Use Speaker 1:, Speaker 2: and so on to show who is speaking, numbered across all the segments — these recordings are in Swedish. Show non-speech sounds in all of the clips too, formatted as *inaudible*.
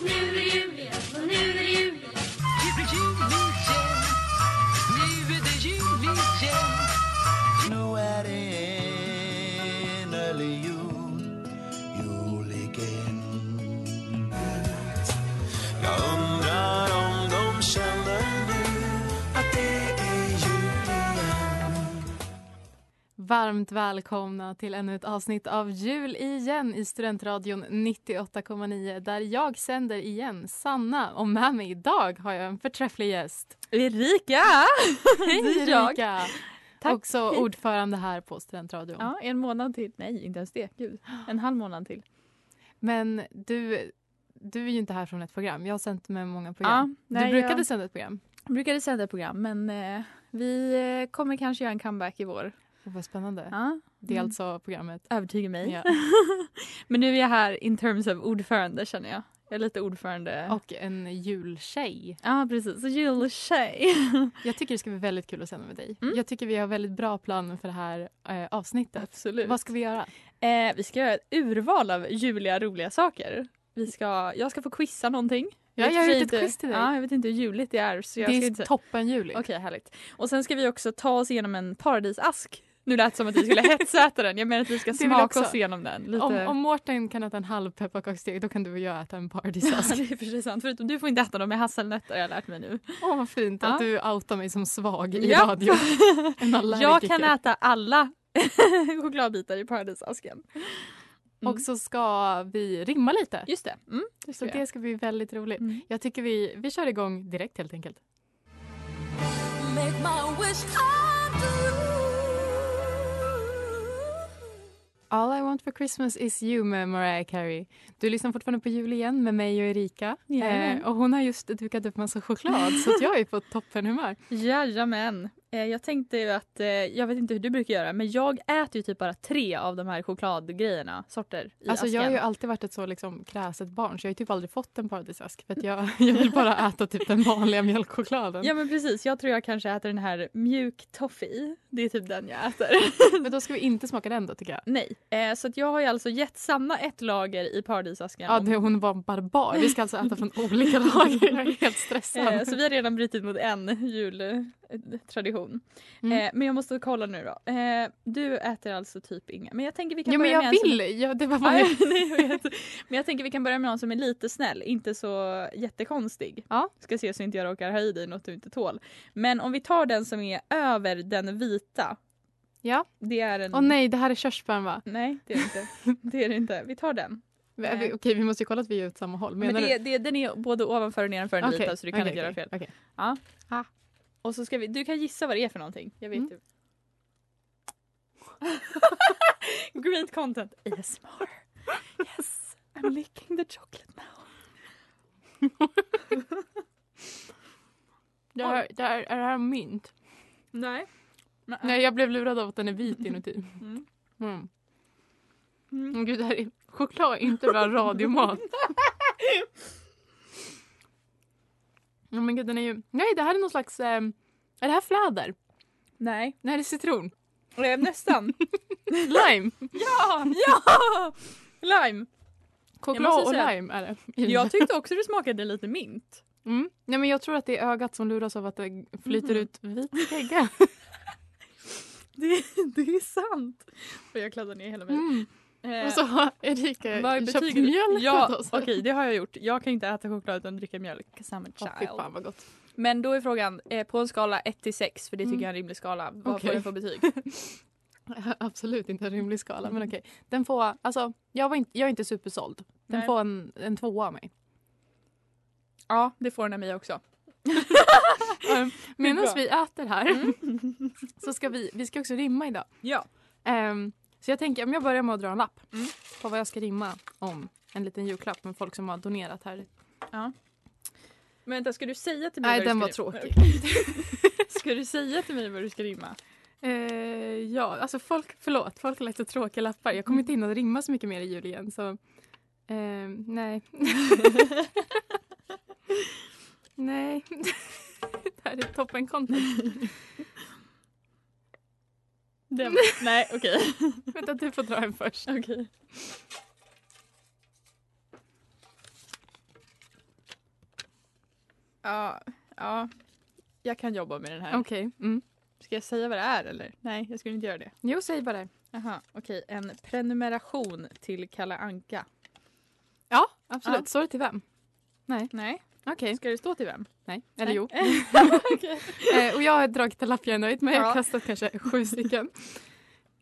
Speaker 1: Nu är det jul igen, och nu är det jul igen.
Speaker 2: Varmt välkomna till ännu ett avsnitt av Jul igen i Studentradion 98,9 där jag sänder igen, Sanna. Och med mig idag har jag en förträfflig gäst.
Speaker 3: Erika!
Speaker 2: *laughs* Hej
Speaker 3: är jag.
Speaker 2: Erika!
Speaker 3: Tack.
Speaker 2: Också ordförande här på Studentradion.
Speaker 3: Ja, en månad till. Nej, inte ens det. Gud. En halv månad till.
Speaker 2: Men du, du är ju inte här från ett program. Jag har sänt med många
Speaker 3: Ja,
Speaker 2: program.
Speaker 3: nej,
Speaker 2: du brukade
Speaker 3: jag-
Speaker 2: sända ett program.
Speaker 3: Jag brukade sända program, men eh, vi eh, kommer kanske göra en comeback i vår.
Speaker 2: Oh, vad spännande.
Speaker 3: Ja,
Speaker 2: Det är
Speaker 3: mm.
Speaker 2: alltså programmet.
Speaker 3: Övertyga mig.
Speaker 2: Ja.
Speaker 3: *laughs* men nu är jag här in terms of ordförande känner jag. Jag är lite ordförande.
Speaker 2: Och en jultjej.
Speaker 3: Ja, precis. Så Jultjej.
Speaker 2: Jag tycker det ska bli väldigt kul att sända med dig.
Speaker 3: Mm.
Speaker 2: Jag tycker vi har väldigt bra plan för det här eh,
Speaker 3: *laughs*
Speaker 2: avsnittet.
Speaker 3: Absolut.
Speaker 2: Vad ska vi göra?
Speaker 3: Eh, vi ska göra ett urval av juliga roliga saker. Vi ska, jag ska få quizza någonting.
Speaker 2: Ja,
Speaker 3: vet
Speaker 2: jag har
Speaker 3: för
Speaker 2: gjort
Speaker 3: inte-
Speaker 2: ett quiz till dig.
Speaker 3: Ja, jag vet inte hur juligt det är. Så jag
Speaker 2: det
Speaker 3: ska
Speaker 2: är
Speaker 3: inte...
Speaker 2: toppen juli.
Speaker 3: Okej, härligt. Och sen ska vi också ta oss igenom en paradisask. Nu lät det som att vi skulle hetsäta den. Jag menar att vi ska
Speaker 2: Det vill jag
Speaker 3: smaka
Speaker 2: också.
Speaker 3: oss igenom den. Lite...
Speaker 2: Om, om Mårten kan äta en halv pepparkaksdeg då kan du och jag äta en
Speaker 3: *laughs* Ja, *laughs*
Speaker 2: paradisask.
Speaker 3: det är precis sant. Förutom du får inte äta dem med hasselnötter har jag lärt mig nu.
Speaker 2: Åh vad fint
Speaker 3: Ja.
Speaker 2: att du outar mig som svag i
Speaker 3: Ja.
Speaker 2: radio.
Speaker 3: *laughs*
Speaker 2: En
Speaker 3: jag
Speaker 2: allergiker.
Speaker 3: kan äta alla *laughs* chokladbitar i paradisasken. Mm.
Speaker 2: Och så ska vi rimma lite.
Speaker 3: Just det. Mm, det
Speaker 2: så
Speaker 3: ska
Speaker 2: det ska bli väldigt roligt.
Speaker 3: Mm.
Speaker 2: Jag tycker vi, vi kör igång direkt helt enkelt.
Speaker 1: Make my wish come true.
Speaker 2: All I want for Christmas is you med Mariah Carey. Du lyssnar fortfarande på jul igen med mig och Erika. Eh,
Speaker 3: Jajamän.
Speaker 2: och hon har just dukat upp massa choklad så att jag är på *laughs* toppenhumör.
Speaker 3: Jajamän. Eh, Jag tänkte ju att, eh, jag vet inte hur du brukar göra, men jag äter ju typ bara tre av de här chokladgrejerna, sorter, i
Speaker 2: Alltså,
Speaker 3: asken.
Speaker 2: jag har ju alltid varit ett så liksom, kräset barn så jag har ju typ aldrig fått en paradisask. För att jag, *laughs* jag vill bara äta typ den vanliga mjölkchokladen.
Speaker 3: Ja men precis, jag tror jag kanske äter den här mjuk toffee. Det är typ den jag äter.
Speaker 2: Men då ska vi inte smaka den då tycker jag.
Speaker 3: Nej, eh, så att jag har ju alltså gett Sanna ett lager i paradisasken.
Speaker 2: Ja, det, hon var en barbar. Vi ska alltså äta från
Speaker 3: *laughs*
Speaker 2: olika lager. Jag är helt stressad.
Speaker 3: Eh, Så vi har redan brutit mot en *laughs* jultradition.
Speaker 2: Mm.
Speaker 3: Eh, Men jag måste kolla nu då. Eh, Du äter alltså typ inga. Men jag tänker vi kan
Speaker 2: ja, men
Speaker 3: börja med
Speaker 2: jag
Speaker 3: en som-
Speaker 2: vill! Ja, det var vad
Speaker 3: Ja,
Speaker 2: jag...
Speaker 3: jag- *laughs* nej, jag vet. Men jag tänker vi kan börja med någon som är lite snäll, inte så jättekonstig.
Speaker 2: Ja.
Speaker 3: Ska se så inte jag råkar ha i dig något du inte tål. Men om vi tar den som är över den vita.
Speaker 2: Ja.
Speaker 3: Det är en...
Speaker 2: *laughs* Åh nej, det här är körsbär va?
Speaker 3: Nej, det är det inte. Det är det inte. Vi tar den.
Speaker 2: Men,
Speaker 3: Nej.
Speaker 2: vi- Okej, vi måste ju kolla att vi är åt samma håll. Menar
Speaker 3: Men
Speaker 2: du?
Speaker 3: det, det, den är både ovanför och nedanför den
Speaker 2: Okej,
Speaker 3: vita så du kan
Speaker 2: okej,
Speaker 3: inte göra
Speaker 2: okej,
Speaker 3: fel.
Speaker 2: okej.
Speaker 3: Och så ska vi, du kan gissa vad det är för någonting. Jag vet *laughs*
Speaker 2: Mm.
Speaker 3: ju. Great content. ASMR. Yes. I'm licking the chocolate now.
Speaker 2: Det här, det här, är det här mynt?
Speaker 3: Nej. Nej.
Speaker 2: Nej, jag blev lurad av att den är vit inuti.
Speaker 3: Mm.
Speaker 2: Mm.
Speaker 3: Mm.
Speaker 2: Men Gud, det här är... choklad är inte
Speaker 3: *laughs*
Speaker 2: bra radiomat. Ja, men gud, den är ju... Nej, det här är någon slags... Eh... Är det här fläder?
Speaker 3: Nej.
Speaker 2: Nej, det är citron.
Speaker 3: Eh,
Speaker 2: *laughs*
Speaker 3: Nästan.
Speaker 2: Lime.
Speaker 3: ja! Ja! Lime. Jag
Speaker 2: Choklad
Speaker 3: måste
Speaker 2: och
Speaker 3: säga-
Speaker 2: lime är det.
Speaker 3: Jag tyckte också det smakade lite mint.
Speaker 2: Mm. Nej, men jag tror att det är ögat som luras av att det flyter
Speaker 3: Mhm.
Speaker 2: ut
Speaker 3: *laughs*
Speaker 2: vit gegga.
Speaker 3: Det, det är sant. Och jag kladdar ner hela mig.
Speaker 2: Mm.
Speaker 3: Eh,
Speaker 2: Och så har Erika
Speaker 3: vad
Speaker 2: köpt
Speaker 3: betyder-
Speaker 2: mjölk åt
Speaker 3: Ja,
Speaker 2: oss.
Speaker 3: okej det har jag gjort. Jag kan inte äta choklad utan dricka mjölk. 'Cause I'm a
Speaker 2: Åh, fy fan
Speaker 3: child.
Speaker 2: vad gott. *laughs*
Speaker 3: Men då är frågan, eh, på en skala 1 till 6, för det tycker
Speaker 2: Mm.
Speaker 3: jag är en rimlig skala, vad
Speaker 2: Okej.
Speaker 3: får den för *laughs* betyg?
Speaker 2: Absolut inte en rimlig skala men okej. Den får, alltså jag, var inte, jag är inte supersåld. Den
Speaker 3: Nej.
Speaker 2: får en, en tvåa
Speaker 3: *laughs*
Speaker 2: av mig.
Speaker 3: Ja, det får den av mig också.
Speaker 2: Medan
Speaker 3: bra. Mm.
Speaker 2: vi äter här *laughs* så ska vi, vi ska också rimma idag.
Speaker 3: Ja.
Speaker 2: Ehm, så jag tänker om jag börjar med att dra en lapp
Speaker 3: Mm.
Speaker 2: på vad jag ska rimma om. En liten julklapp med folk som har donerat här.
Speaker 3: Men vänta, ska du säga till mig
Speaker 2: Nej
Speaker 3: vad du
Speaker 2: den
Speaker 3: ska
Speaker 2: var
Speaker 3: rimma?
Speaker 2: tråkig.
Speaker 3: *laughs* Ska du säga till mig vad du ska rimma?
Speaker 2: Eh, ja, alltså folk, förlåt, folk har lagt så tråkiga lappar. Jag kommer inte hinna rimma så mycket mer i jul igen så eh,
Speaker 3: *laughs*
Speaker 2: nej. nej. *laughs* det här är toppen content.
Speaker 3: Den, *laughs* nej, okej.
Speaker 2: Vänta, du får dra en först.
Speaker 3: Okej. Ja, ja. Jag kan jobba med den här.
Speaker 2: Okej. Mm.
Speaker 3: Ska jag säga vad det är eller? Nej, jag skulle inte göra det.
Speaker 2: Jo, säg bara det.
Speaker 3: Aha, okej. En prenumeration till Kalle Anka.
Speaker 2: Ja, absolut.
Speaker 3: Ja.
Speaker 2: Står det till vem?
Speaker 3: Nej.
Speaker 2: Okej.
Speaker 3: Ska det stå till vem?
Speaker 2: Nej, eller
Speaker 3: Nej.
Speaker 2: jo.
Speaker 3: *laughs* Okej.
Speaker 2: Eh, och jag har dragit en lapp jag är nöjd med. Jag har
Speaker 3: Ja.
Speaker 2: kastat kanske sju stycken.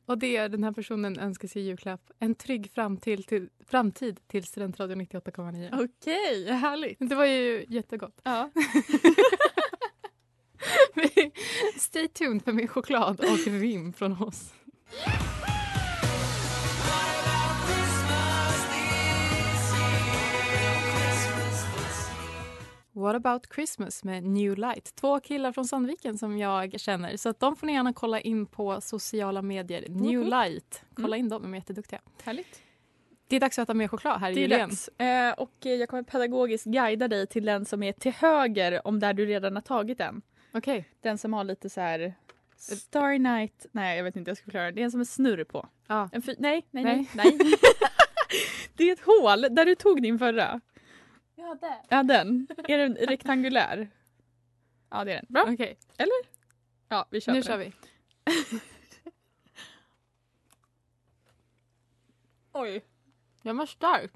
Speaker 2: Och det är den här personen önskar sig i julklapp. En trygg framtid till, framtid till Studentradion 98,9.
Speaker 3: Okej, härligt.
Speaker 2: Det var ju jättegott.
Speaker 3: Ja.
Speaker 2: *laughs* Stay tuned för mer choklad och rim från oss. What about Christmas med New Light. Två killar från Sandviken som jag känner. Så att de får ni gärna kolla in på sociala medier. New
Speaker 3: Mhm.
Speaker 2: Light. Kolla in dem, de är jätteduktiga.
Speaker 3: Härligt.
Speaker 2: Det är dags att äta mer choklad här i
Speaker 3: Det är
Speaker 2: julen.
Speaker 3: dags. Eh, och eh, jag kommer pedagogiskt guida dig till den som är till höger om där du redan har tagit den.
Speaker 2: Okej.
Speaker 3: Den som har lite så här Starry Night. Nej, jag vet inte jag ska förklara. Det är en som är snurr på.
Speaker 2: Ja.
Speaker 3: En fy- nej, nej, nej. nej.
Speaker 2: *laughs*
Speaker 3: det är ett hål där du tog din förra.
Speaker 2: Ja, det.
Speaker 3: Ja, den. Är den rektangulär? Ja, det är den. Bra.
Speaker 2: Okej,
Speaker 3: Ja, vi kör.
Speaker 2: nu
Speaker 3: på
Speaker 2: kör
Speaker 3: den.
Speaker 2: vi.
Speaker 3: Oj.
Speaker 2: Jag var stark.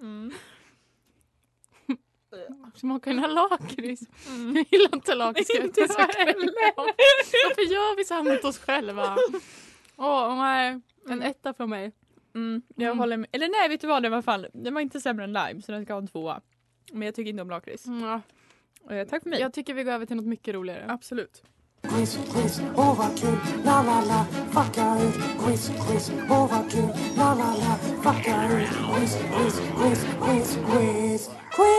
Speaker 3: Mm.
Speaker 2: Smakar den här lakrits? Jag gillar
Speaker 3: *laughs*
Speaker 2: inte lakrits. ska
Speaker 3: Mm.
Speaker 2: jag
Speaker 3: Inte *laughs* jag
Speaker 2: säga själv.
Speaker 3: heller.
Speaker 2: Varför gör vi så här mot oss själva? Åh nej, en etta från mig.
Speaker 3: Mm, jag
Speaker 2: Mm.
Speaker 3: håller med. Eller nej, vet du vad? Den var, fan, den var inte sämre än lime så den ska ha en tvåa. Men jag tycker inte om lakrits.
Speaker 2: Ja.
Speaker 3: Eh, tack för mig.
Speaker 2: Mm. Jag tycker vi går över till något mycket roligare.
Speaker 3: Absolut.
Speaker 4: Quiz, quiz, åh vad kul, la la la, fucka ut. Quiz, quiz, åh vad kul, la la la, fucka ut. Quiz, quiz, quiz, quiz, quiz, quiz.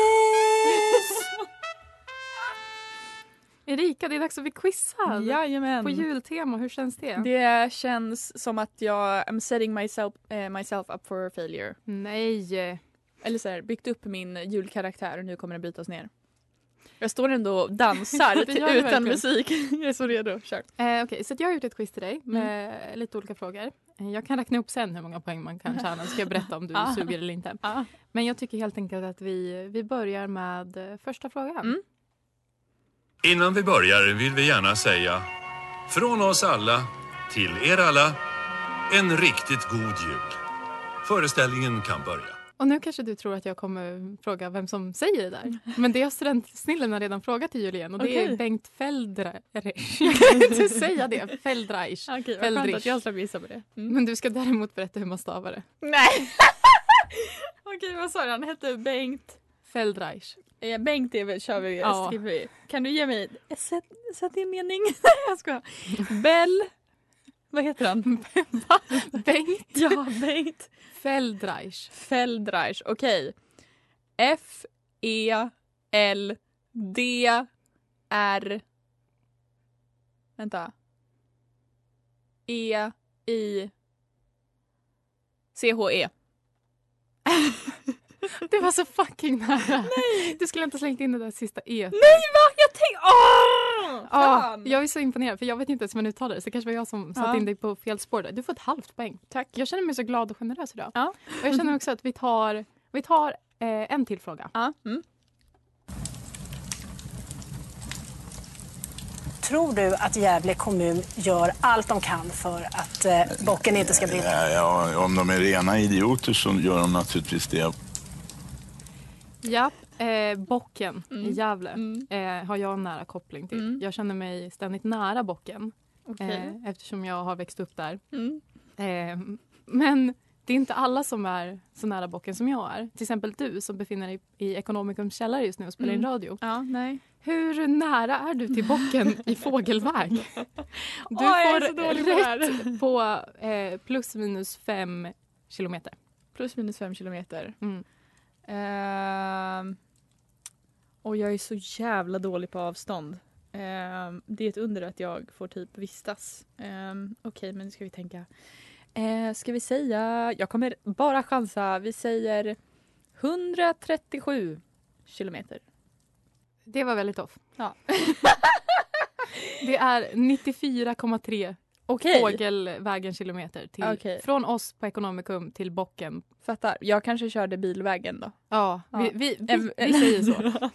Speaker 2: Erika, det är dags att bli quizad.
Speaker 3: Jajamän.
Speaker 2: Alltså. På jultema, hur känns det?
Speaker 3: Det känns som att jag I'm setting myself, eh, myself up for failure.
Speaker 2: Nej.
Speaker 3: Eller så här, byggt upp min julkaraktär och nu kommer den brytas ner. Jag står ändå och dansar *laughs*
Speaker 2: Det
Speaker 3: till,
Speaker 2: gör du
Speaker 3: utan
Speaker 2: verkligen.
Speaker 3: musik. *laughs* jag är så redo. Kör.
Speaker 2: Eh, Okej, så att jag har gjort ett quiz till dig med lite olika frågor. Eh, Jag kan räkna upp sen hur många poäng man kan tjäna så ska jag berätta om du
Speaker 3: Ah.
Speaker 2: suger eller inte.
Speaker 3: Ah.
Speaker 2: Men jag tycker helt enkelt att vi, vi börjar med eh, första frågan.
Speaker 3: Mm.
Speaker 5: Innan vi börjar vill vi gärna säga från oss alla till er alla en riktigt god jul. Föreställningen kan börja.
Speaker 2: Och nu kanske du tror att jag kommer fråga vem som säger det där. Men det har studentsnillen redan frågat till Julien och det är
Speaker 3: Okej.
Speaker 2: Bengt
Speaker 3: *laughs*
Speaker 2: Feldreich. Jag kan inte säga det, Feldreich.
Speaker 3: Okej,
Speaker 2: vad skönt att jag
Speaker 3: slapp gissa på det.
Speaker 2: Men du ska däremot berätta hur man stavar det.
Speaker 3: Mm. *laughs* Nej! *laughs* Okej, vad sa du? Han hette Bengt.
Speaker 2: Feldreich.
Speaker 3: Eh, Bengt är väl, kör vi,
Speaker 2: Ja.
Speaker 3: skriver vi. Kan du ge mig, sätt, sätt din mening. *laughs* jag skojar. Bell. Vad heter han?
Speaker 2: Bengt
Speaker 3: *laughs* ja, Bengt.
Speaker 2: Feldreich.
Speaker 3: Feldreich. Okej. F E L D R Vänta. E I C H E.
Speaker 2: Det var så fucking nära. Nej. Du skulle inte ha slängt in det där sista e.
Speaker 3: Nej va? Jag tänkte... Åh!
Speaker 2: Ah,
Speaker 3: Fan!
Speaker 2: jag är så imponerad för jag vet inte ens hur man uttalar det. Så det kanske var jag som satte
Speaker 3: Ja.
Speaker 2: in dig på fel spår där. Du får ett halvt poäng.
Speaker 3: Tack.
Speaker 2: Jag känner mig så glad och generös idag.
Speaker 3: Ja.
Speaker 2: Och jag känner också att vi tar, vi tar Eh, en till fråga.
Speaker 3: Ja, mm.
Speaker 6: Tror du att Gävle kommun gör allt de kan för att eh, bocken inte ska brinna?
Speaker 7: Ja, ja, om de är rena idioter så gör de naturligtvis det.
Speaker 2: Ja, eh, bocken
Speaker 3: Mm.
Speaker 2: i Gävle eh, har jag en nära koppling till. Jag känner mig ständigt nära bocken
Speaker 3: Okej.
Speaker 2: eh, eftersom jag har växt upp där.
Speaker 3: Mm.
Speaker 2: Eh, men det är inte alla som är så nära bocken som jag är. Till exempel du som befinner dig i Ekonomikums källare just nu och spelar
Speaker 3: Mm.
Speaker 2: in radio.
Speaker 3: Ja, nej.
Speaker 2: Hur nära är du till bocken
Speaker 3: *laughs*
Speaker 2: i fågelväg? Du
Speaker 3: Åh, jag är så
Speaker 2: får
Speaker 3: dålig på det här.
Speaker 2: rätt på eh, plus minus fem kilometer.
Speaker 3: Plus minus fem kilometer.
Speaker 2: Mm.
Speaker 3: Ehm, och jag är så jävla dålig på avstånd. Ehm, det är ett under att jag får typ vistas. Ehm, Okej, men nu ska vi tänka. Uh, ska vi säga, jag kommer bara chansa, vi säger 137 kilometer.
Speaker 2: Det var väldigt off.
Speaker 3: Ja.
Speaker 2: *laughs* Det är 94,3
Speaker 3: Okej,
Speaker 2: fågelvägen kilometer till,
Speaker 3: Okej.
Speaker 2: från oss på Ekonomikum till bocken.
Speaker 3: fattar. Jag kanske körde bilvägen då. Ehm,
Speaker 2: Ja,
Speaker 3: Ja.
Speaker 2: Vi, vi, vi, vi säger
Speaker 3: *laughs*
Speaker 2: så.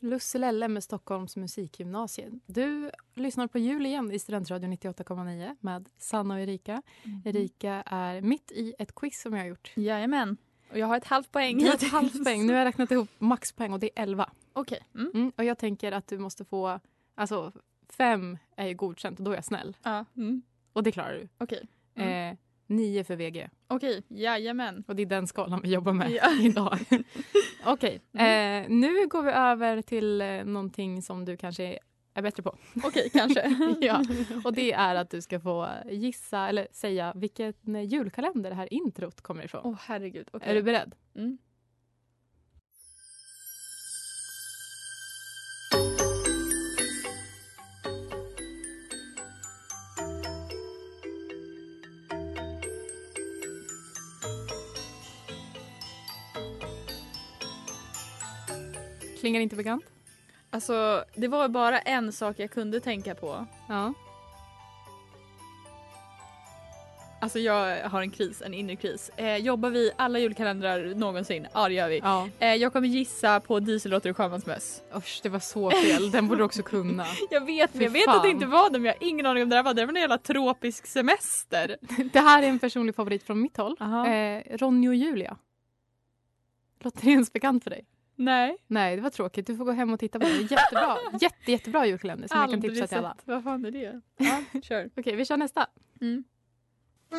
Speaker 2: Lusselelle med Stockholms musikgymnasium. Du lyssnar på jul igen i Studentradion 98,9 med Sanna och Erika.
Speaker 3: Mm-hmm.
Speaker 2: Erika är mitt i ett quiz som jag har gjort.
Speaker 3: Jajamän. Och jag har ett halvt poäng.
Speaker 2: Du har ett
Speaker 3: hittills.
Speaker 2: halvt poäng. Nu har jag räknat ihop maxpoäng och det är 11.
Speaker 3: Okej. Mm.
Speaker 2: Mm, och jag tänker att du måste få... Alltså, fem är ju godkänt och då är jag snäll.
Speaker 3: Ja. Mm.
Speaker 2: Och det klarar du.
Speaker 3: Okej. Mm.
Speaker 2: Eh, nio för VG.
Speaker 3: Okej, jajamän.
Speaker 2: Och det är den skalan vi jobbar med
Speaker 3: Ja.
Speaker 2: *laughs*
Speaker 3: *laughs* Mm.
Speaker 2: idag. Okej, eh, nu går vi över till eh, någonting som du kanske är bättre på.
Speaker 3: Okej, *laughs* kanske.
Speaker 2: ja. Och det är att du ska få gissa eller säga vilken julkalender det här introt kommer ifrån.
Speaker 3: Åh herregud. Okej.
Speaker 2: Är du beredd?
Speaker 3: Mm.
Speaker 2: Klingar inte bekant?
Speaker 3: Alltså, det var bara en sak jag kunde tänka på.
Speaker 2: Ja.
Speaker 3: Alltså jag har en kris, en inre kris. Eh, jobbar vi alla julkalendrar någonsin? Ja det gör vi.
Speaker 2: ja.
Speaker 3: Eh, jag kommer gissa på Dieselråttor och sjömansmöss.
Speaker 2: Usch, det var så fel. Den borde du också kunna.
Speaker 3: Jag vet men
Speaker 2: Fy
Speaker 3: jag vet
Speaker 2: fan.
Speaker 3: att det inte var dem. Jag har ingen aning om det här var. Det var en jävla tropisk semester.
Speaker 2: *laughs* Det här är en personlig favorit från mitt håll.
Speaker 3: Aha.
Speaker 2: Eh, Ronny och Julia. Låter det ens bekant för dig?
Speaker 3: Nej.
Speaker 2: Nej, det var tråkigt. Du får gå hem och titta på den.
Speaker 3: *laughs*
Speaker 2: Jättebra, Jätte, jättebra julkalender som jag kan tipsa till alla.
Speaker 3: sett. Vad fan är det? Ja, *laughs* kör.
Speaker 2: Okej, vi kör nästa.
Speaker 3: Mm. *laughs*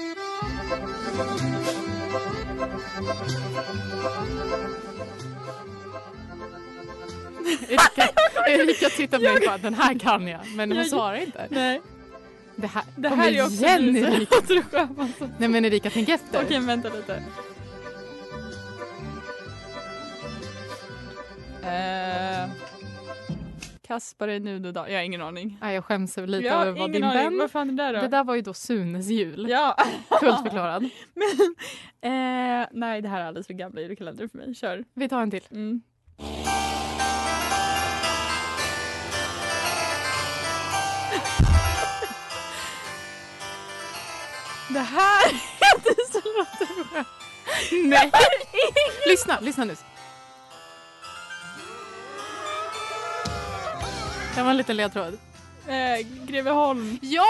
Speaker 2: Erika, Erika tittar på mig och bara, den här kan jag. Men hon
Speaker 3: Jag-
Speaker 2: svarar inte.
Speaker 3: Nej.
Speaker 2: Det här,
Speaker 3: Det
Speaker 2: kom
Speaker 3: här är också
Speaker 2: igen Erika.
Speaker 3: Dieselråttor och sjömansmöss.
Speaker 2: Nej men Erika, tänk efter.
Speaker 3: Okej vänta lite. Eh, Kaspar är nu dag. Jag har ingen aning.
Speaker 2: Nej, jag skäms över lite
Speaker 3: jag har
Speaker 2: över vad
Speaker 3: ingen
Speaker 2: din
Speaker 3: aning.
Speaker 2: vän...
Speaker 3: Vad fan är det där då?
Speaker 2: Det där var ju då Sunes jul.
Speaker 3: Ja.
Speaker 2: Fullt förklarad.
Speaker 3: *laughs* Men, eh, nej det här är alldeles för gamla julkalendrar för mig. Kör.
Speaker 2: Vi tar en till.
Speaker 3: Mm. *laughs* Det här är Dieselråttor och
Speaker 2: Nej! lyssna, lyssna nu. Det var en liten ledtråd.
Speaker 3: eh, Greveholm.
Speaker 2: Ja!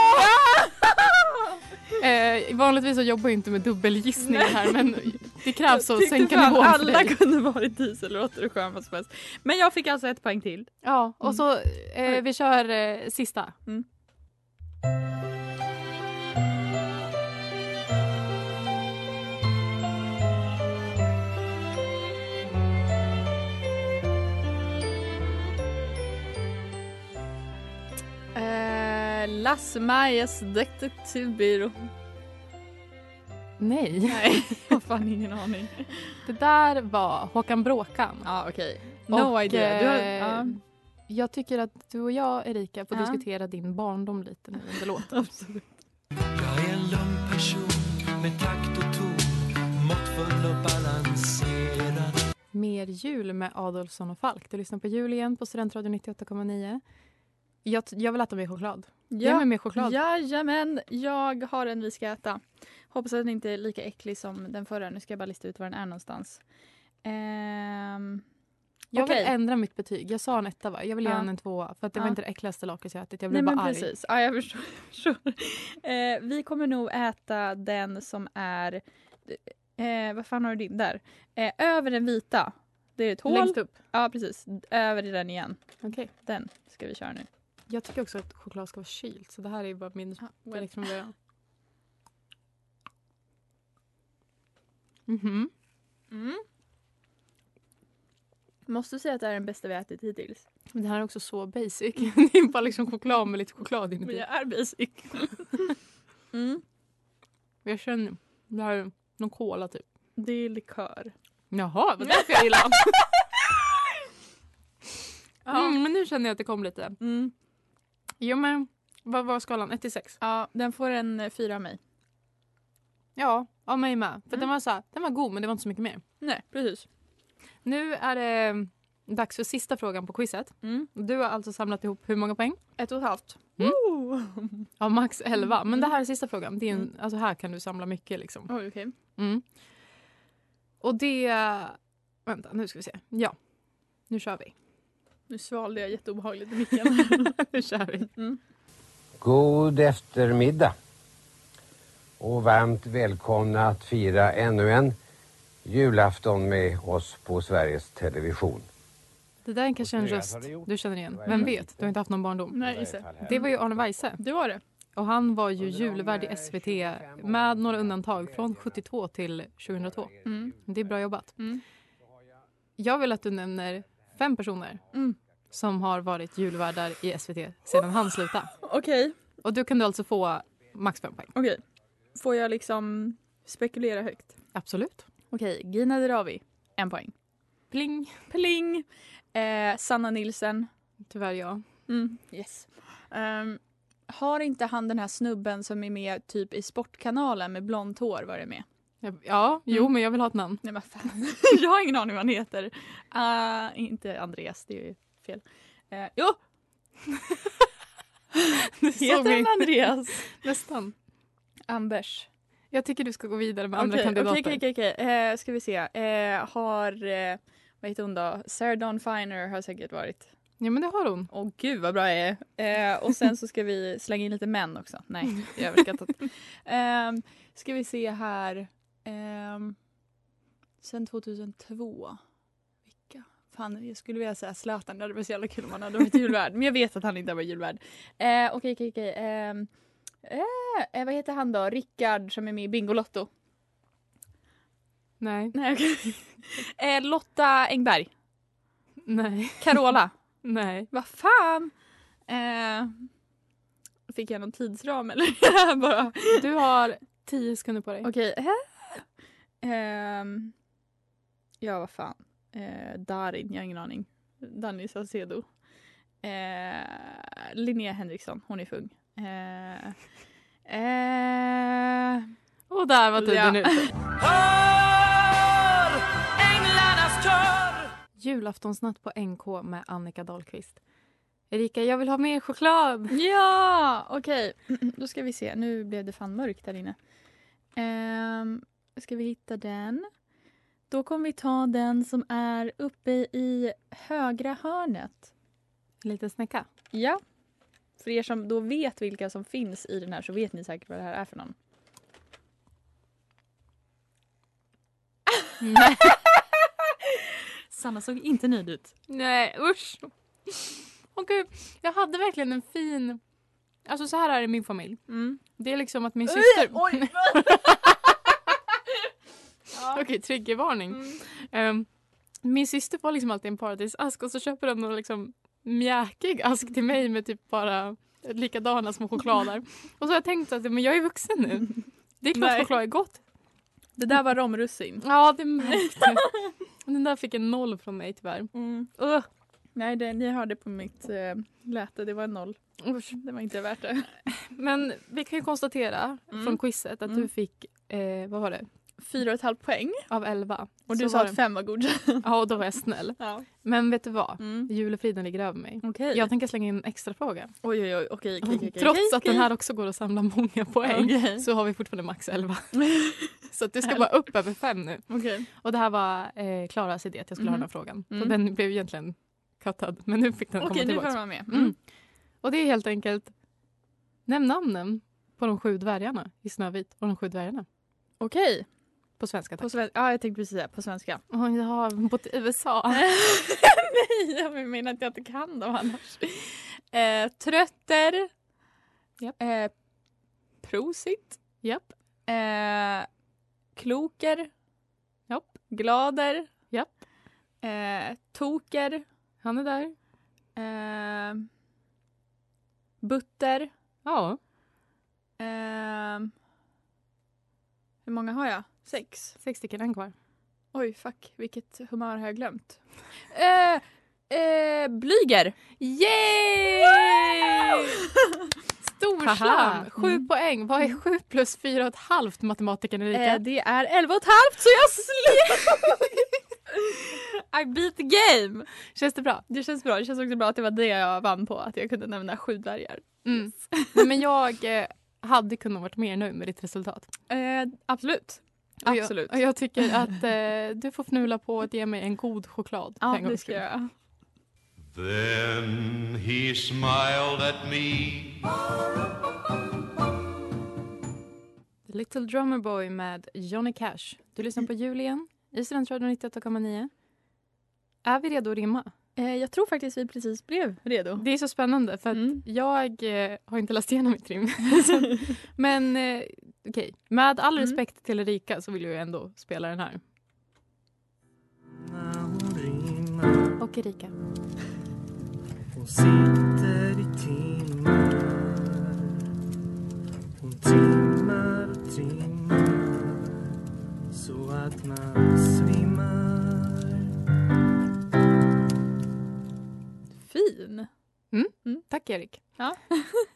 Speaker 2: *laughs* eh, vanligtvis så jobbar jag inte med dubbelgissningar här men det krävs att
Speaker 3: Tyckte
Speaker 2: sänka
Speaker 3: fan
Speaker 2: nivån för
Speaker 3: Alla
Speaker 2: dig.
Speaker 3: kunde varit dieselråttor och sjömansmöss. Men jag fick alltså ett poäng till.
Speaker 2: Ja, och så eh, vi kör eh, sista.
Speaker 3: Mm. Eh, Lasse Majas detektivbyrå.
Speaker 2: Nej,
Speaker 3: Nej, *laughs* jag har fan ingen aning. Ja,
Speaker 2: det där var Håkan Bråkan.
Speaker 3: okej.
Speaker 2: Och,
Speaker 3: No idea. Du har,
Speaker 2: eh,
Speaker 3: ja,
Speaker 2: Jag tycker att du och jag, Erika, får
Speaker 3: Ja.
Speaker 2: diskutera din barndom lite nu under låten.
Speaker 3: absolut.
Speaker 8: Jag är en lugn person med takt och ton, måttfull och balanserad.
Speaker 2: Mer jul med Adolfsson och Falk. Du lyssnar på jul igen på Studentradion 98,9. Jag, t- jag vill äta mer choklad. Ge mig mer choklad.
Speaker 3: Jajamän, jag har en vi ska äta. Hoppas att den inte är lika äcklig som den förra. Nu ska jag bara lista ut var den är någonstans. Ehm,
Speaker 2: Jag
Speaker 3: okej.
Speaker 2: vill ändra mitt betyg. Jag sa en etta va? Jag vill ge
Speaker 3: Ja.
Speaker 2: honom en tvåa. För att det
Speaker 3: Ja.
Speaker 2: var inte det äckligaste lakrits jag ätit. Jag
Speaker 3: Nej
Speaker 2: blev
Speaker 3: men
Speaker 2: bara arg.
Speaker 3: precis, ja, jag förstår. *laughs* Jag förstår. Eh, vi kommer nog äta den som är, eh, vad fan har du din där? Eh, över den vita. Det är ett hål.
Speaker 2: Längst upp?
Speaker 3: Ja precis, över i den igen.
Speaker 2: Okej.
Speaker 3: Den ska vi köra nu.
Speaker 2: Jag tycker också att choklad ska vara kylt. Så det här är ju bara min liksom direkt från början. Mhm.
Speaker 3: Mm. Måste säga att det här är den bästa vi ätit hittills.
Speaker 2: Men den här är också så basic. *laughs* det är bara liksom choklad med lite choklad typ. inuti.
Speaker 3: Men jag är basic. mm.
Speaker 2: Jag känner, det här är någon cola typ.
Speaker 3: Det är likör.
Speaker 2: Jaha, vad därför jag gillar
Speaker 3: *laughs*
Speaker 2: den. mm, Men nu känner jag att det kom lite.
Speaker 3: Mm.
Speaker 2: Jo men, vad var skalan? 1 till 6?
Speaker 3: Ja, den får en eh, fyra av mig.
Speaker 2: Ja, av mig med. För den, var så här, den var god men det var inte så mycket mer.
Speaker 3: Nej, precis.
Speaker 2: Nu är det mm, dags för sista frågan på quizet. Du har alltså samlat ihop hur många poäng?
Speaker 3: Mm. Ett och ett halvt.
Speaker 2: Mm. Ja, max 11. Men det här är sista frågan. Det är en, alltså här kan du samla mycket. Liksom.
Speaker 3: Oj, okej.
Speaker 2: Mm. Och det... Vänta, nu ska vi se. Ja, nu kör vi.
Speaker 3: Nu svalde jag jätteobehagligt i micken.
Speaker 2: *laughs*
Speaker 3: *laughs*
Speaker 2: nu kör vi.
Speaker 9: God eftermiddag och varmt välkomna att fira ännu en julafton med oss på Sveriges Television.
Speaker 2: Det där är kanske en röst du känner igen. Vem vet? Du har inte haft någon barndom.
Speaker 3: Nej, just det.
Speaker 2: Det var ju Arne Weise.
Speaker 3: Det var det.
Speaker 2: Och han var ju julvärd i SVT med några undantag från 72 till 2002.
Speaker 3: Mm.
Speaker 2: Det är bra jobbat.
Speaker 3: Mm.
Speaker 2: Jag vill att du nämner fem personer
Speaker 3: mm.
Speaker 2: som har varit julvärdar i SVT sedan han slutade.
Speaker 3: Okej.
Speaker 2: Och du kan du alltså få max fem poäng.
Speaker 3: Okej. Får jag liksom spekulera högt?
Speaker 2: Absolut.
Speaker 3: Okej, Gina Dirawi, en poäng.
Speaker 2: Pling.
Speaker 3: Pling! Eh, Sanna Nilsen.
Speaker 2: Tyvärr ja.
Speaker 3: Mm, yes. Ehm, har inte han den här snubben som är med typ i Sportkanalen med blont hår varit med?
Speaker 2: Ja, jo
Speaker 3: Mm.
Speaker 2: men jag vill ha
Speaker 3: *laughs*
Speaker 2: ett namn.
Speaker 3: Nej men fan. jag har ingen aning vad han heter. Ah, inte Andreas, det är ju fel. Eh, jo!
Speaker 2: såg
Speaker 3: heter
Speaker 2: mig.
Speaker 3: han Andreas?
Speaker 2: Nästan.
Speaker 3: *laughs* Anders.
Speaker 2: Jag tycker du ska gå vidare med andra
Speaker 3: Okej,
Speaker 2: kandidater.
Speaker 3: Okej, okej, okej. Eh, ska vi se. Eh, har, eh, vad heter hon då? Sarah Dawn Finer har säkert varit.
Speaker 2: Ja men det har hon.
Speaker 3: Åh gud vad bra jag är. Eh, och sen så ska vi slänga in lite män också. Nej, det är överskattat. Ehm, ska vi se här. Ehm, sen 2002. Vilka? Fan, jag skulle vilja säga Zlatan. Det hade varit så jävla kul om han hade varit julvärd. Men jag vet att han inte har varit julvärd. Eh, Okej, okej, okej. Ehm, eh, eh, vad heter han då? Rickard som är med i Bingolotto.
Speaker 2: Nej.
Speaker 3: Nej, okej. eh, Lotta Engberg.
Speaker 2: Nej.
Speaker 3: Carola.
Speaker 2: Nej.
Speaker 3: Vad fan! Eh, fick jag någon tidsram eller? *laughs* Bara.
Speaker 2: Du har tio sekunder på dig.
Speaker 3: Okej. Eh, ehm, ja, vad fan. Eh, Darin, jag har ingen aning. Danny Saucedo. Eh, Linnea Henriksson, hon är fung. Eh, eh,
Speaker 2: Och där var tiden
Speaker 3: Ja.
Speaker 2: ute.
Speaker 1: Hör änglarnas kör
Speaker 2: Julaftonsnatt på NK med Annika Dahlqvist. Erika, jag vill ha mer choklad!
Speaker 3: Ja, okej. Då ska vi se. Nu blev det fan mörkt här inne. Ehm, ska vi hitta den? Då kommer vi ta den som är uppe i högra hörnet.
Speaker 2: En liten snäcka.
Speaker 3: Ja. För er som då vet vilka som finns i den här så vet ni säkert vad det här är för någon.
Speaker 2: *laughs*
Speaker 3: Sanna såg inte nöjd ut.
Speaker 2: Nej, usch! Åh gud, jag hade verkligen en fin... Alltså så här är det i min familj.
Speaker 3: Mm.
Speaker 2: Det är liksom att min syster...
Speaker 3: Oj!
Speaker 2: Okej, triggervarning.
Speaker 3: Mm.
Speaker 2: Ehm, min syster får liksom alltid en paradisask och så köper de någon liksom mjäkig ask till mig med typ bara likadana små
Speaker 3: *laughs*
Speaker 2: choklader. Och så har jag tänkt att men jag är vuxen nu. Det är klart
Speaker 3: Nej.
Speaker 2: choklad är gott.
Speaker 3: Det där var romrussin.
Speaker 2: Ja, det märkte
Speaker 3: *laughs*
Speaker 2: jag. Den där fick en noll från mig tyvärr.
Speaker 3: Mm. Ugh. Nej, det, ni hörde på mitt eh, läte. Det var en noll.
Speaker 2: Usch.
Speaker 3: Det var inte värt det.
Speaker 2: Men vi kan ju konstatera
Speaker 3: Mm.
Speaker 2: från quizet att
Speaker 3: Mm.
Speaker 2: du fick, eh, vad var det?
Speaker 3: fyra och ett halvt poäng.
Speaker 2: Av elva.
Speaker 3: Och du
Speaker 2: Så
Speaker 3: sa
Speaker 2: var
Speaker 3: att
Speaker 2: det.
Speaker 3: fem var godkänt. Mm.
Speaker 2: Ja, och då var jag snäll. Men vet du vad? Julefriden ligger över mig.
Speaker 3: Okej. Mm.
Speaker 2: Jag tänker slänga in en extra fråga.
Speaker 3: Oj, oj, oj. Okej, okej, okej,
Speaker 2: Trots
Speaker 3: okej,
Speaker 2: att den
Speaker 3: okej.
Speaker 2: här också går att samla många poäng
Speaker 3: *laughs* Okej.
Speaker 2: så har vi fortfarande max 11. *laughs* så att du ska bara upp över fem nu.
Speaker 3: Okej.
Speaker 2: Och det här var eh, Klaras idé att jag skulle ha
Speaker 3: Mhm.
Speaker 2: den här frågan.
Speaker 3: Mm.
Speaker 2: Så den blev egentligen cuttad men nu fick den komma
Speaker 3: Okej, nu får
Speaker 2: tillbaka.
Speaker 3: den vara med.
Speaker 2: Mm. Och det är helt enkelt Nämn namnen på de sju dvärgarna i Snövit och de sju dvärgarna.
Speaker 3: Okej.
Speaker 2: På svenska
Speaker 3: På sven- ja, jag tänkte precis säga på svenska.
Speaker 2: Oj, jag har bott i USA.
Speaker 3: *laughs* Nej, jag menar att jag inte kan dem annars. Eh, trötter. Eh, prosit.
Speaker 2: Japp.
Speaker 3: Eh, kloker.
Speaker 2: Japp.
Speaker 3: Glader.
Speaker 2: Japp.
Speaker 3: Eh, toker.
Speaker 2: *laughs* Han är där.
Speaker 3: Eh, butter.
Speaker 2: Ja.
Speaker 3: Ehm, hur många har jag? Sex?
Speaker 2: Sex stycken, en kvar.
Speaker 3: Oj, fuck. Vilket humör har jag glömt? *laughs* Eh, eh, blyger!
Speaker 2: Yay! Stor
Speaker 3: Haha.
Speaker 2: slam! Sju poäng. Vad är sju plus fyra och ett halvt matematikern Erika?
Speaker 3: Eh, det är elva och ett halvt så jag *laughs* slet! I beat the game!
Speaker 2: Känns det bra?
Speaker 3: Det känns bra. Det känns också bra att det var det jag vann på. Att jag kunde nämna sju dvärgar.
Speaker 2: *laughs* Mm. Nej, men jag eh, hade kunnat varit mer nöjd med ditt resultat.
Speaker 3: Eh, absolut.
Speaker 2: Och
Speaker 3: Absolut.
Speaker 2: Jag, och jag tycker att eh, du får fnula på att ge mig en god choklad.
Speaker 3: Ja,
Speaker 2: för en
Speaker 3: det
Speaker 2: gångs
Speaker 3: ska
Speaker 2: skull.
Speaker 3: jag göra.
Speaker 10: Then he smiled at me.
Speaker 2: The Little Drummer Boy med Johnny Cash. Du lyssnar på jul igen i Studentradion 98,9. Är vi redo att rimma?
Speaker 3: Eh, jag tror faktiskt vi precis blev redo.
Speaker 2: Det är så spännande för att jag eh, har inte läst igenom mitt *laughs* rim. Men eh, okej, med all respekt till Erika så vill jag ju ändå spela den här. Och Erika.
Speaker 8: Hon sitter i timmar Hon timmar och timmar Så att man svimmar
Speaker 3: Fin!
Speaker 2: Mm. Tack Erik.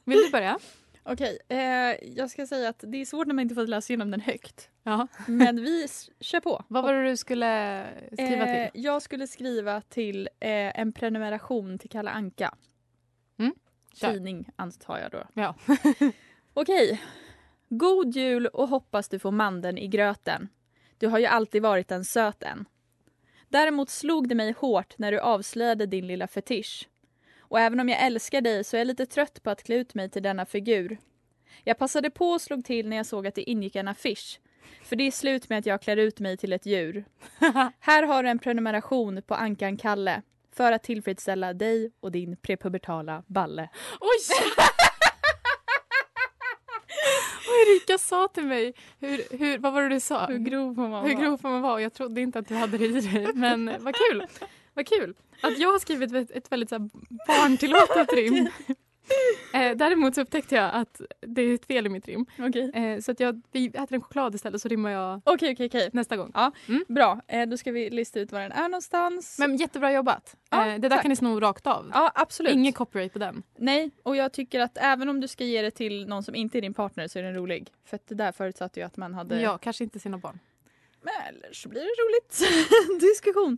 Speaker 2: Vill du börja?
Speaker 3: Okej, eh, jag ska säga att det är svårt när man inte får läsa igenom den högt.
Speaker 2: Ja.
Speaker 3: Men vi s- kör på.
Speaker 2: Vad var det du skulle skriva till?
Speaker 3: Eh, jag skulle skriva till eh, en prenumeration till Kalle Anka.
Speaker 2: Mm. Kör.
Speaker 3: Tidning antar jag då.
Speaker 2: Ja.
Speaker 3: *laughs* Okej. God jul och hoppas du får mandeln i gröten. Du har ju alltid varit en söt en. Däremot slog det mig hårt när du avslöjade din lilla fetisch. Och även om jag älskar dig så är jag lite trött på att klä ut mig till denna figur. Jag passade på och slog till när jag såg att det ingick en affisch. För det är slut med att jag klär ut mig till ett djur. Här har du en prenumeration på Ankan Kalle för att tillfredsställa dig och din prepubertala balle.
Speaker 2: Oj!
Speaker 3: *laughs*
Speaker 2: Och Erika sa till mig, hur, hur, vad var det du sa? Hur
Speaker 3: grov får man
Speaker 2: Hur
Speaker 3: vara?
Speaker 2: grov får man vara? Och Jag trodde inte att du hade det i dig, men vad kul! Vad kul att jag har skrivit ett, ett väldigt så här, barntillåtet rim. Eh, däremot så upptäckte jag att det är ett fel i mitt rim. Eh, så att jag, vi äter en choklad istället så rimmar jag
Speaker 3: Okej, okej, okej.
Speaker 2: nästa gång.
Speaker 3: Ja, Bra, eh, då ska vi lista ut var den är någonstans.
Speaker 2: Mm. Men jättebra jobbat.
Speaker 3: Ja,
Speaker 2: eh, det där
Speaker 3: tack.
Speaker 2: kan ni sno rakt av.
Speaker 3: Ja, absolut.
Speaker 2: Ingen copyright på den.
Speaker 3: Nej, och jag tycker att även om du ska ge det till någon som inte är din partner så är den rolig. För att det där förutsatte ju att man hade...
Speaker 2: Ja, kanske inte sina barn.
Speaker 3: Men eller så blir det roligt. *laughs* Diskussion.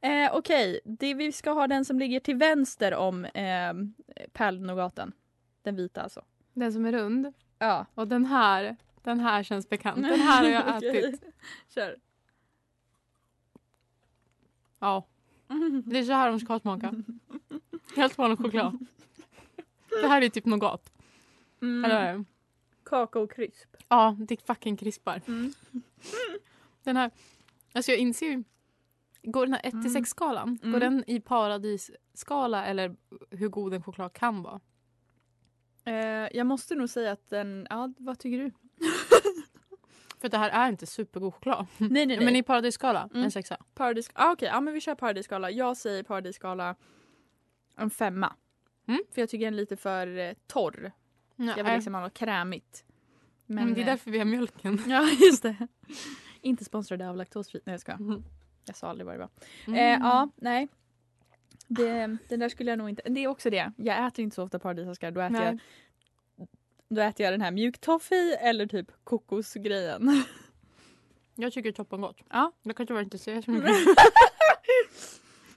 Speaker 3: Eh, Okej, det vi ska ha den som ligger till vänster om eh, pärlnougaten. Den vita alltså.
Speaker 2: Den som är rund.
Speaker 3: Ja.
Speaker 2: Och den här, den här känns
Speaker 3: *laughs*
Speaker 2: bekant. Den här har jag
Speaker 3: Okej.
Speaker 2: ätit.
Speaker 3: Kör.
Speaker 2: Ja. Det är så här de ska smaka. Helt vanlig choklad. Det här är typ nougat.
Speaker 3: Mm.
Speaker 2: Eller,
Speaker 3: Kakaokrisp.
Speaker 2: ja, det är fucking krispar.
Speaker 3: Mm.
Speaker 2: Den här, alltså jag inser ju. Går den här 1 till 6 skalan,
Speaker 3: Mm.
Speaker 2: går den i paradisskala eller hur god en choklad kan vara?
Speaker 3: Eh, jag måste nog säga att den... Ja, vad tycker
Speaker 2: *laughs*
Speaker 3: du?
Speaker 2: För det här är inte supergod choklad.
Speaker 3: Nej, nej,
Speaker 2: Men
Speaker 3: nej.
Speaker 2: i paradisskala,
Speaker 3: Mm.
Speaker 2: en sexa.
Speaker 3: Paradis... Ah, Okej, ja, men vi kör paradisskala. Jag säger paradisskala en femma.
Speaker 2: Mm.
Speaker 3: För jag tycker den är lite för eh, torr.
Speaker 2: Nej.
Speaker 3: Jag vill liksom ha något krämigt.
Speaker 2: Men, Mm, det är
Speaker 3: eh,
Speaker 2: därför vi har mjölken.
Speaker 3: *laughs* Ja, just det. Inte sponsrade av laktosfritt. Nej, jag ska.
Speaker 2: Mm.
Speaker 3: Jag sa aldrig vad det var. Eh, ja, nej. Det, den där skulle jag nog inte... Det är också det. Jag äter inte så ofta paradisaskar. Då äter
Speaker 2: Nej.
Speaker 3: jag då äter jag den här mjuk toffee eller typ kokosgrejen.
Speaker 2: Jag tycker toppengott.
Speaker 3: Ja.
Speaker 2: Jag kan tyvärr inte säga
Speaker 3: *laughs*
Speaker 2: så mycket.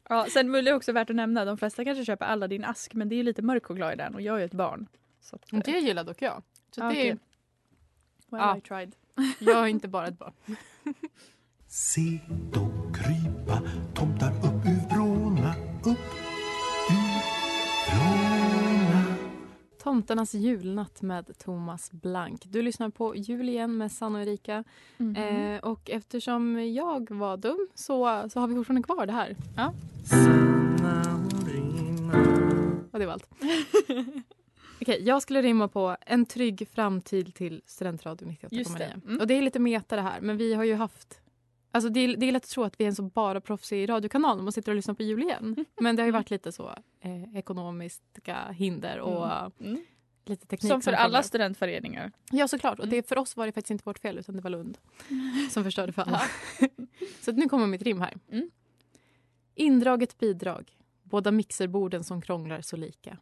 Speaker 3: Ja, sen mulle är också värt att nämna. De flesta kanske köper alla din ask men det är ju lite mörk choklad i den och jag är ju ett barn. Så att,
Speaker 2: det gillar dock jag. Så
Speaker 3: Ja,
Speaker 2: det är,
Speaker 3: Ah, okej. Well
Speaker 2: Ja.
Speaker 3: I tried.
Speaker 2: jag är inte bara ett barn.
Speaker 8: Se dem krypa, tomtar upp ur vrårna, upp
Speaker 2: Tomtarnas julnatt med Thomas Blank. Du lyssnar på Jul igen med Sanna och Erika.
Speaker 3: Mhm.
Speaker 2: Eh, och eftersom jag var dum så, så har vi fortfarande kvar det här. Ja. Och det var allt. *laughs* Okej, jag skulle rimma på en trygg framtid till Studentradion 98,9.
Speaker 3: Just det. Mm.
Speaker 2: Och det är lite meta det här, men vi har ju haft... Alltså det, är, det är lätt att tro att vi är en så bara proffsig radiokanal om man sitter och lyssnar på
Speaker 3: *laughs*
Speaker 2: jul igen. Men det har ju varit lite så eh, ekonomiska hinder och
Speaker 3: Mm. Mm.
Speaker 2: lite teknik.
Speaker 3: Som för
Speaker 2: kommer Mm.
Speaker 3: alla
Speaker 2: upp. *laughs*
Speaker 3: studentföreningar.
Speaker 2: Ja, såklart. Och det, för oss var det faktiskt inte vårt fel, utan det var Lund som förstörde för alla. *laughs* så att nu kommer mitt rim här. Indraget bidrag. Båda mixerborden som krånglar så lika.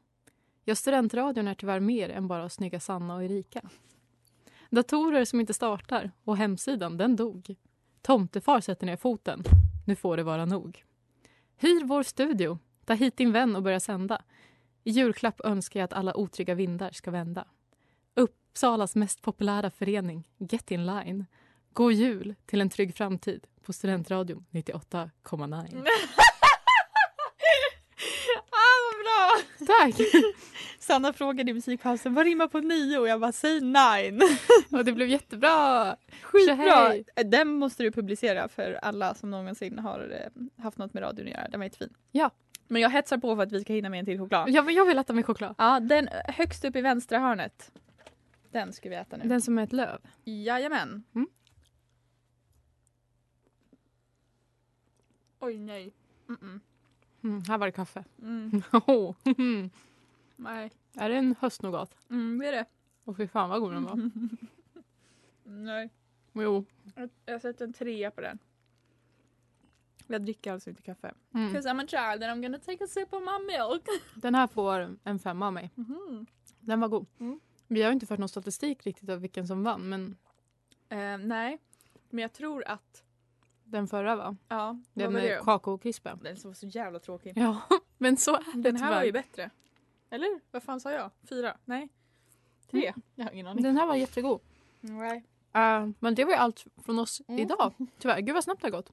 Speaker 2: Ja, studentradion är tyvärr mer än bara snygga Sanna och Erika. Datorer som inte startar och hemsidan, den dog. Tomtefar sätter ner foten. Nu får det vara nog. Hyr vår studio. Ta hit din vän och börja sända. I julklapp önskar jag att alla otrygga vindar ska vända. Uppsalas mest populära förening, Get In Line. God jul till en trygg framtid på Studentradion *laughs* 98,9.
Speaker 3: Ah, vad bra!
Speaker 2: Tack!
Speaker 3: Sanna frågade i musikpausen vad rimmar på nio och jag bara säg nine.
Speaker 2: Och det blev jättebra!
Speaker 3: Skitbra!
Speaker 2: Tjohej!
Speaker 3: Den måste du publicera för alla som någonsin har eh, haft något med radion att göra. Den var jättefin.
Speaker 2: Ja.
Speaker 3: Men jag hetsar på för att vi ska hinna med en till choklad.
Speaker 2: Ja, men jag vill äta min choklad.
Speaker 3: Ja, den högst upp i vänstra hörnet. Den ska vi äta nu.
Speaker 2: Den som är ett löv.
Speaker 3: Jajamän.
Speaker 2: Mm.
Speaker 3: Oj nej. Mm-mm.
Speaker 2: Mm, här var det kaffe. *laughs*
Speaker 3: Mm.
Speaker 2: Åh.
Speaker 3: Nej.
Speaker 2: är det en höstnougat?
Speaker 3: Mm, det är det.
Speaker 2: Och fy fan vad god den *laughs* var.
Speaker 3: Nej.
Speaker 2: Jo.
Speaker 3: Jag- Jag sätter en trea på den. Jag dricker alltså inte kaffe.
Speaker 2: Mm.
Speaker 3: Cause I'm a child and I'm gonna take a sip of my milk.
Speaker 2: Den här får en femma av mig. Mm-hmm.
Speaker 3: Mhm.
Speaker 2: Den var god.
Speaker 3: Mm.
Speaker 2: Vi har ju inte fört någon statistik riktigt av vilken som vann, men
Speaker 3: Eh, nej, men jag tror att...
Speaker 2: den förra va?
Speaker 3: Ja, vad
Speaker 2: Den
Speaker 3: var
Speaker 2: med
Speaker 3: det?
Speaker 2: kakaokrispen.
Speaker 3: Den som var så jävla tråkig.
Speaker 2: Ja, *laughs* men så är det
Speaker 3: Den här var
Speaker 2: tyvärr.
Speaker 3: ju bättre. Eller? Vad fan sa jag? Fyra? Nej. Tre?
Speaker 2: Mm.
Speaker 3: Jag har ingen aning.
Speaker 2: Den här var jättegod.
Speaker 3: Nej.
Speaker 2: Eh, men det var ju allt från oss
Speaker 3: Mm.
Speaker 2: idag. Tyvärr. Gud vad snabbt det har gått.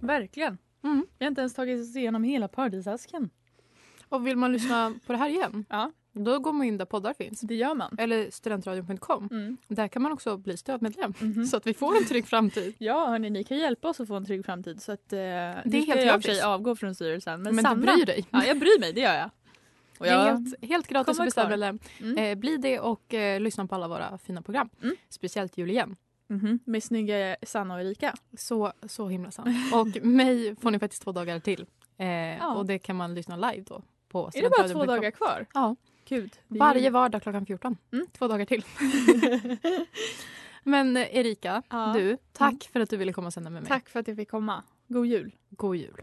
Speaker 3: Verkligen.
Speaker 2: Mm.
Speaker 3: Vi har inte ens tagit oss igenom hela paradisasken.
Speaker 2: Och vill man lyssna på det här igen,
Speaker 3: *laughs* ja.
Speaker 2: då går man in där poddar finns.
Speaker 3: Det gör man.
Speaker 2: Eller studentradion.com.
Speaker 3: Mm. Mhm.
Speaker 2: Där kan man också bli stödmedlem *laughs* så att vi får en trygg framtid.
Speaker 3: Ja, hörni, ni kan hjälpa oss att få en trygg framtid. Så att, eh, det är
Speaker 2: helt
Speaker 3: jag i och för sig
Speaker 2: gratis.
Speaker 3: avgå från styrelsen. Men,
Speaker 2: Men du
Speaker 3: Sanna,
Speaker 2: bryr dig.
Speaker 3: Ja, jag bryr mig. Det gör jag. Och
Speaker 2: Det
Speaker 3: jag
Speaker 2: är helt, helt gratis
Speaker 3: kommer
Speaker 2: att
Speaker 3: kvar.
Speaker 2: beställa medlem.
Speaker 3: Mm.
Speaker 2: Eh, bli det och eh, lyssna på alla våra fina program. Speciellt jul igen.
Speaker 3: Mhm. Med snygga Sanna och Erika.
Speaker 2: Så, så himla
Speaker 3: *laughs*
Speaker 2: sant. Och mig får ni faktiskt två dagar till. Eh,
Speaker 3: Ja.
Speaker 2: Och det kan man lyssna live då. På
Speaker 3: Är det bara två
Speaker 2: studentradion.com.
Speaker 3: dagar kvar?
Speaker 2: Ja.
Speaker 3: Gud. det är
Speaker 2: Varje
Speaker 3: ju- Mm.
Speaker 2: vardag klockan 14. Två
Speaker 3: *laughs*
Speaker 2: dagar till. Men eh, Erika,
Speaker 3: Ja. Mm.
Speaker 2: du, tack för att du ville komma och sända med mig.
Speaker 3: Tack för att jag fick komma. God jul.
Speaker 2: God jul.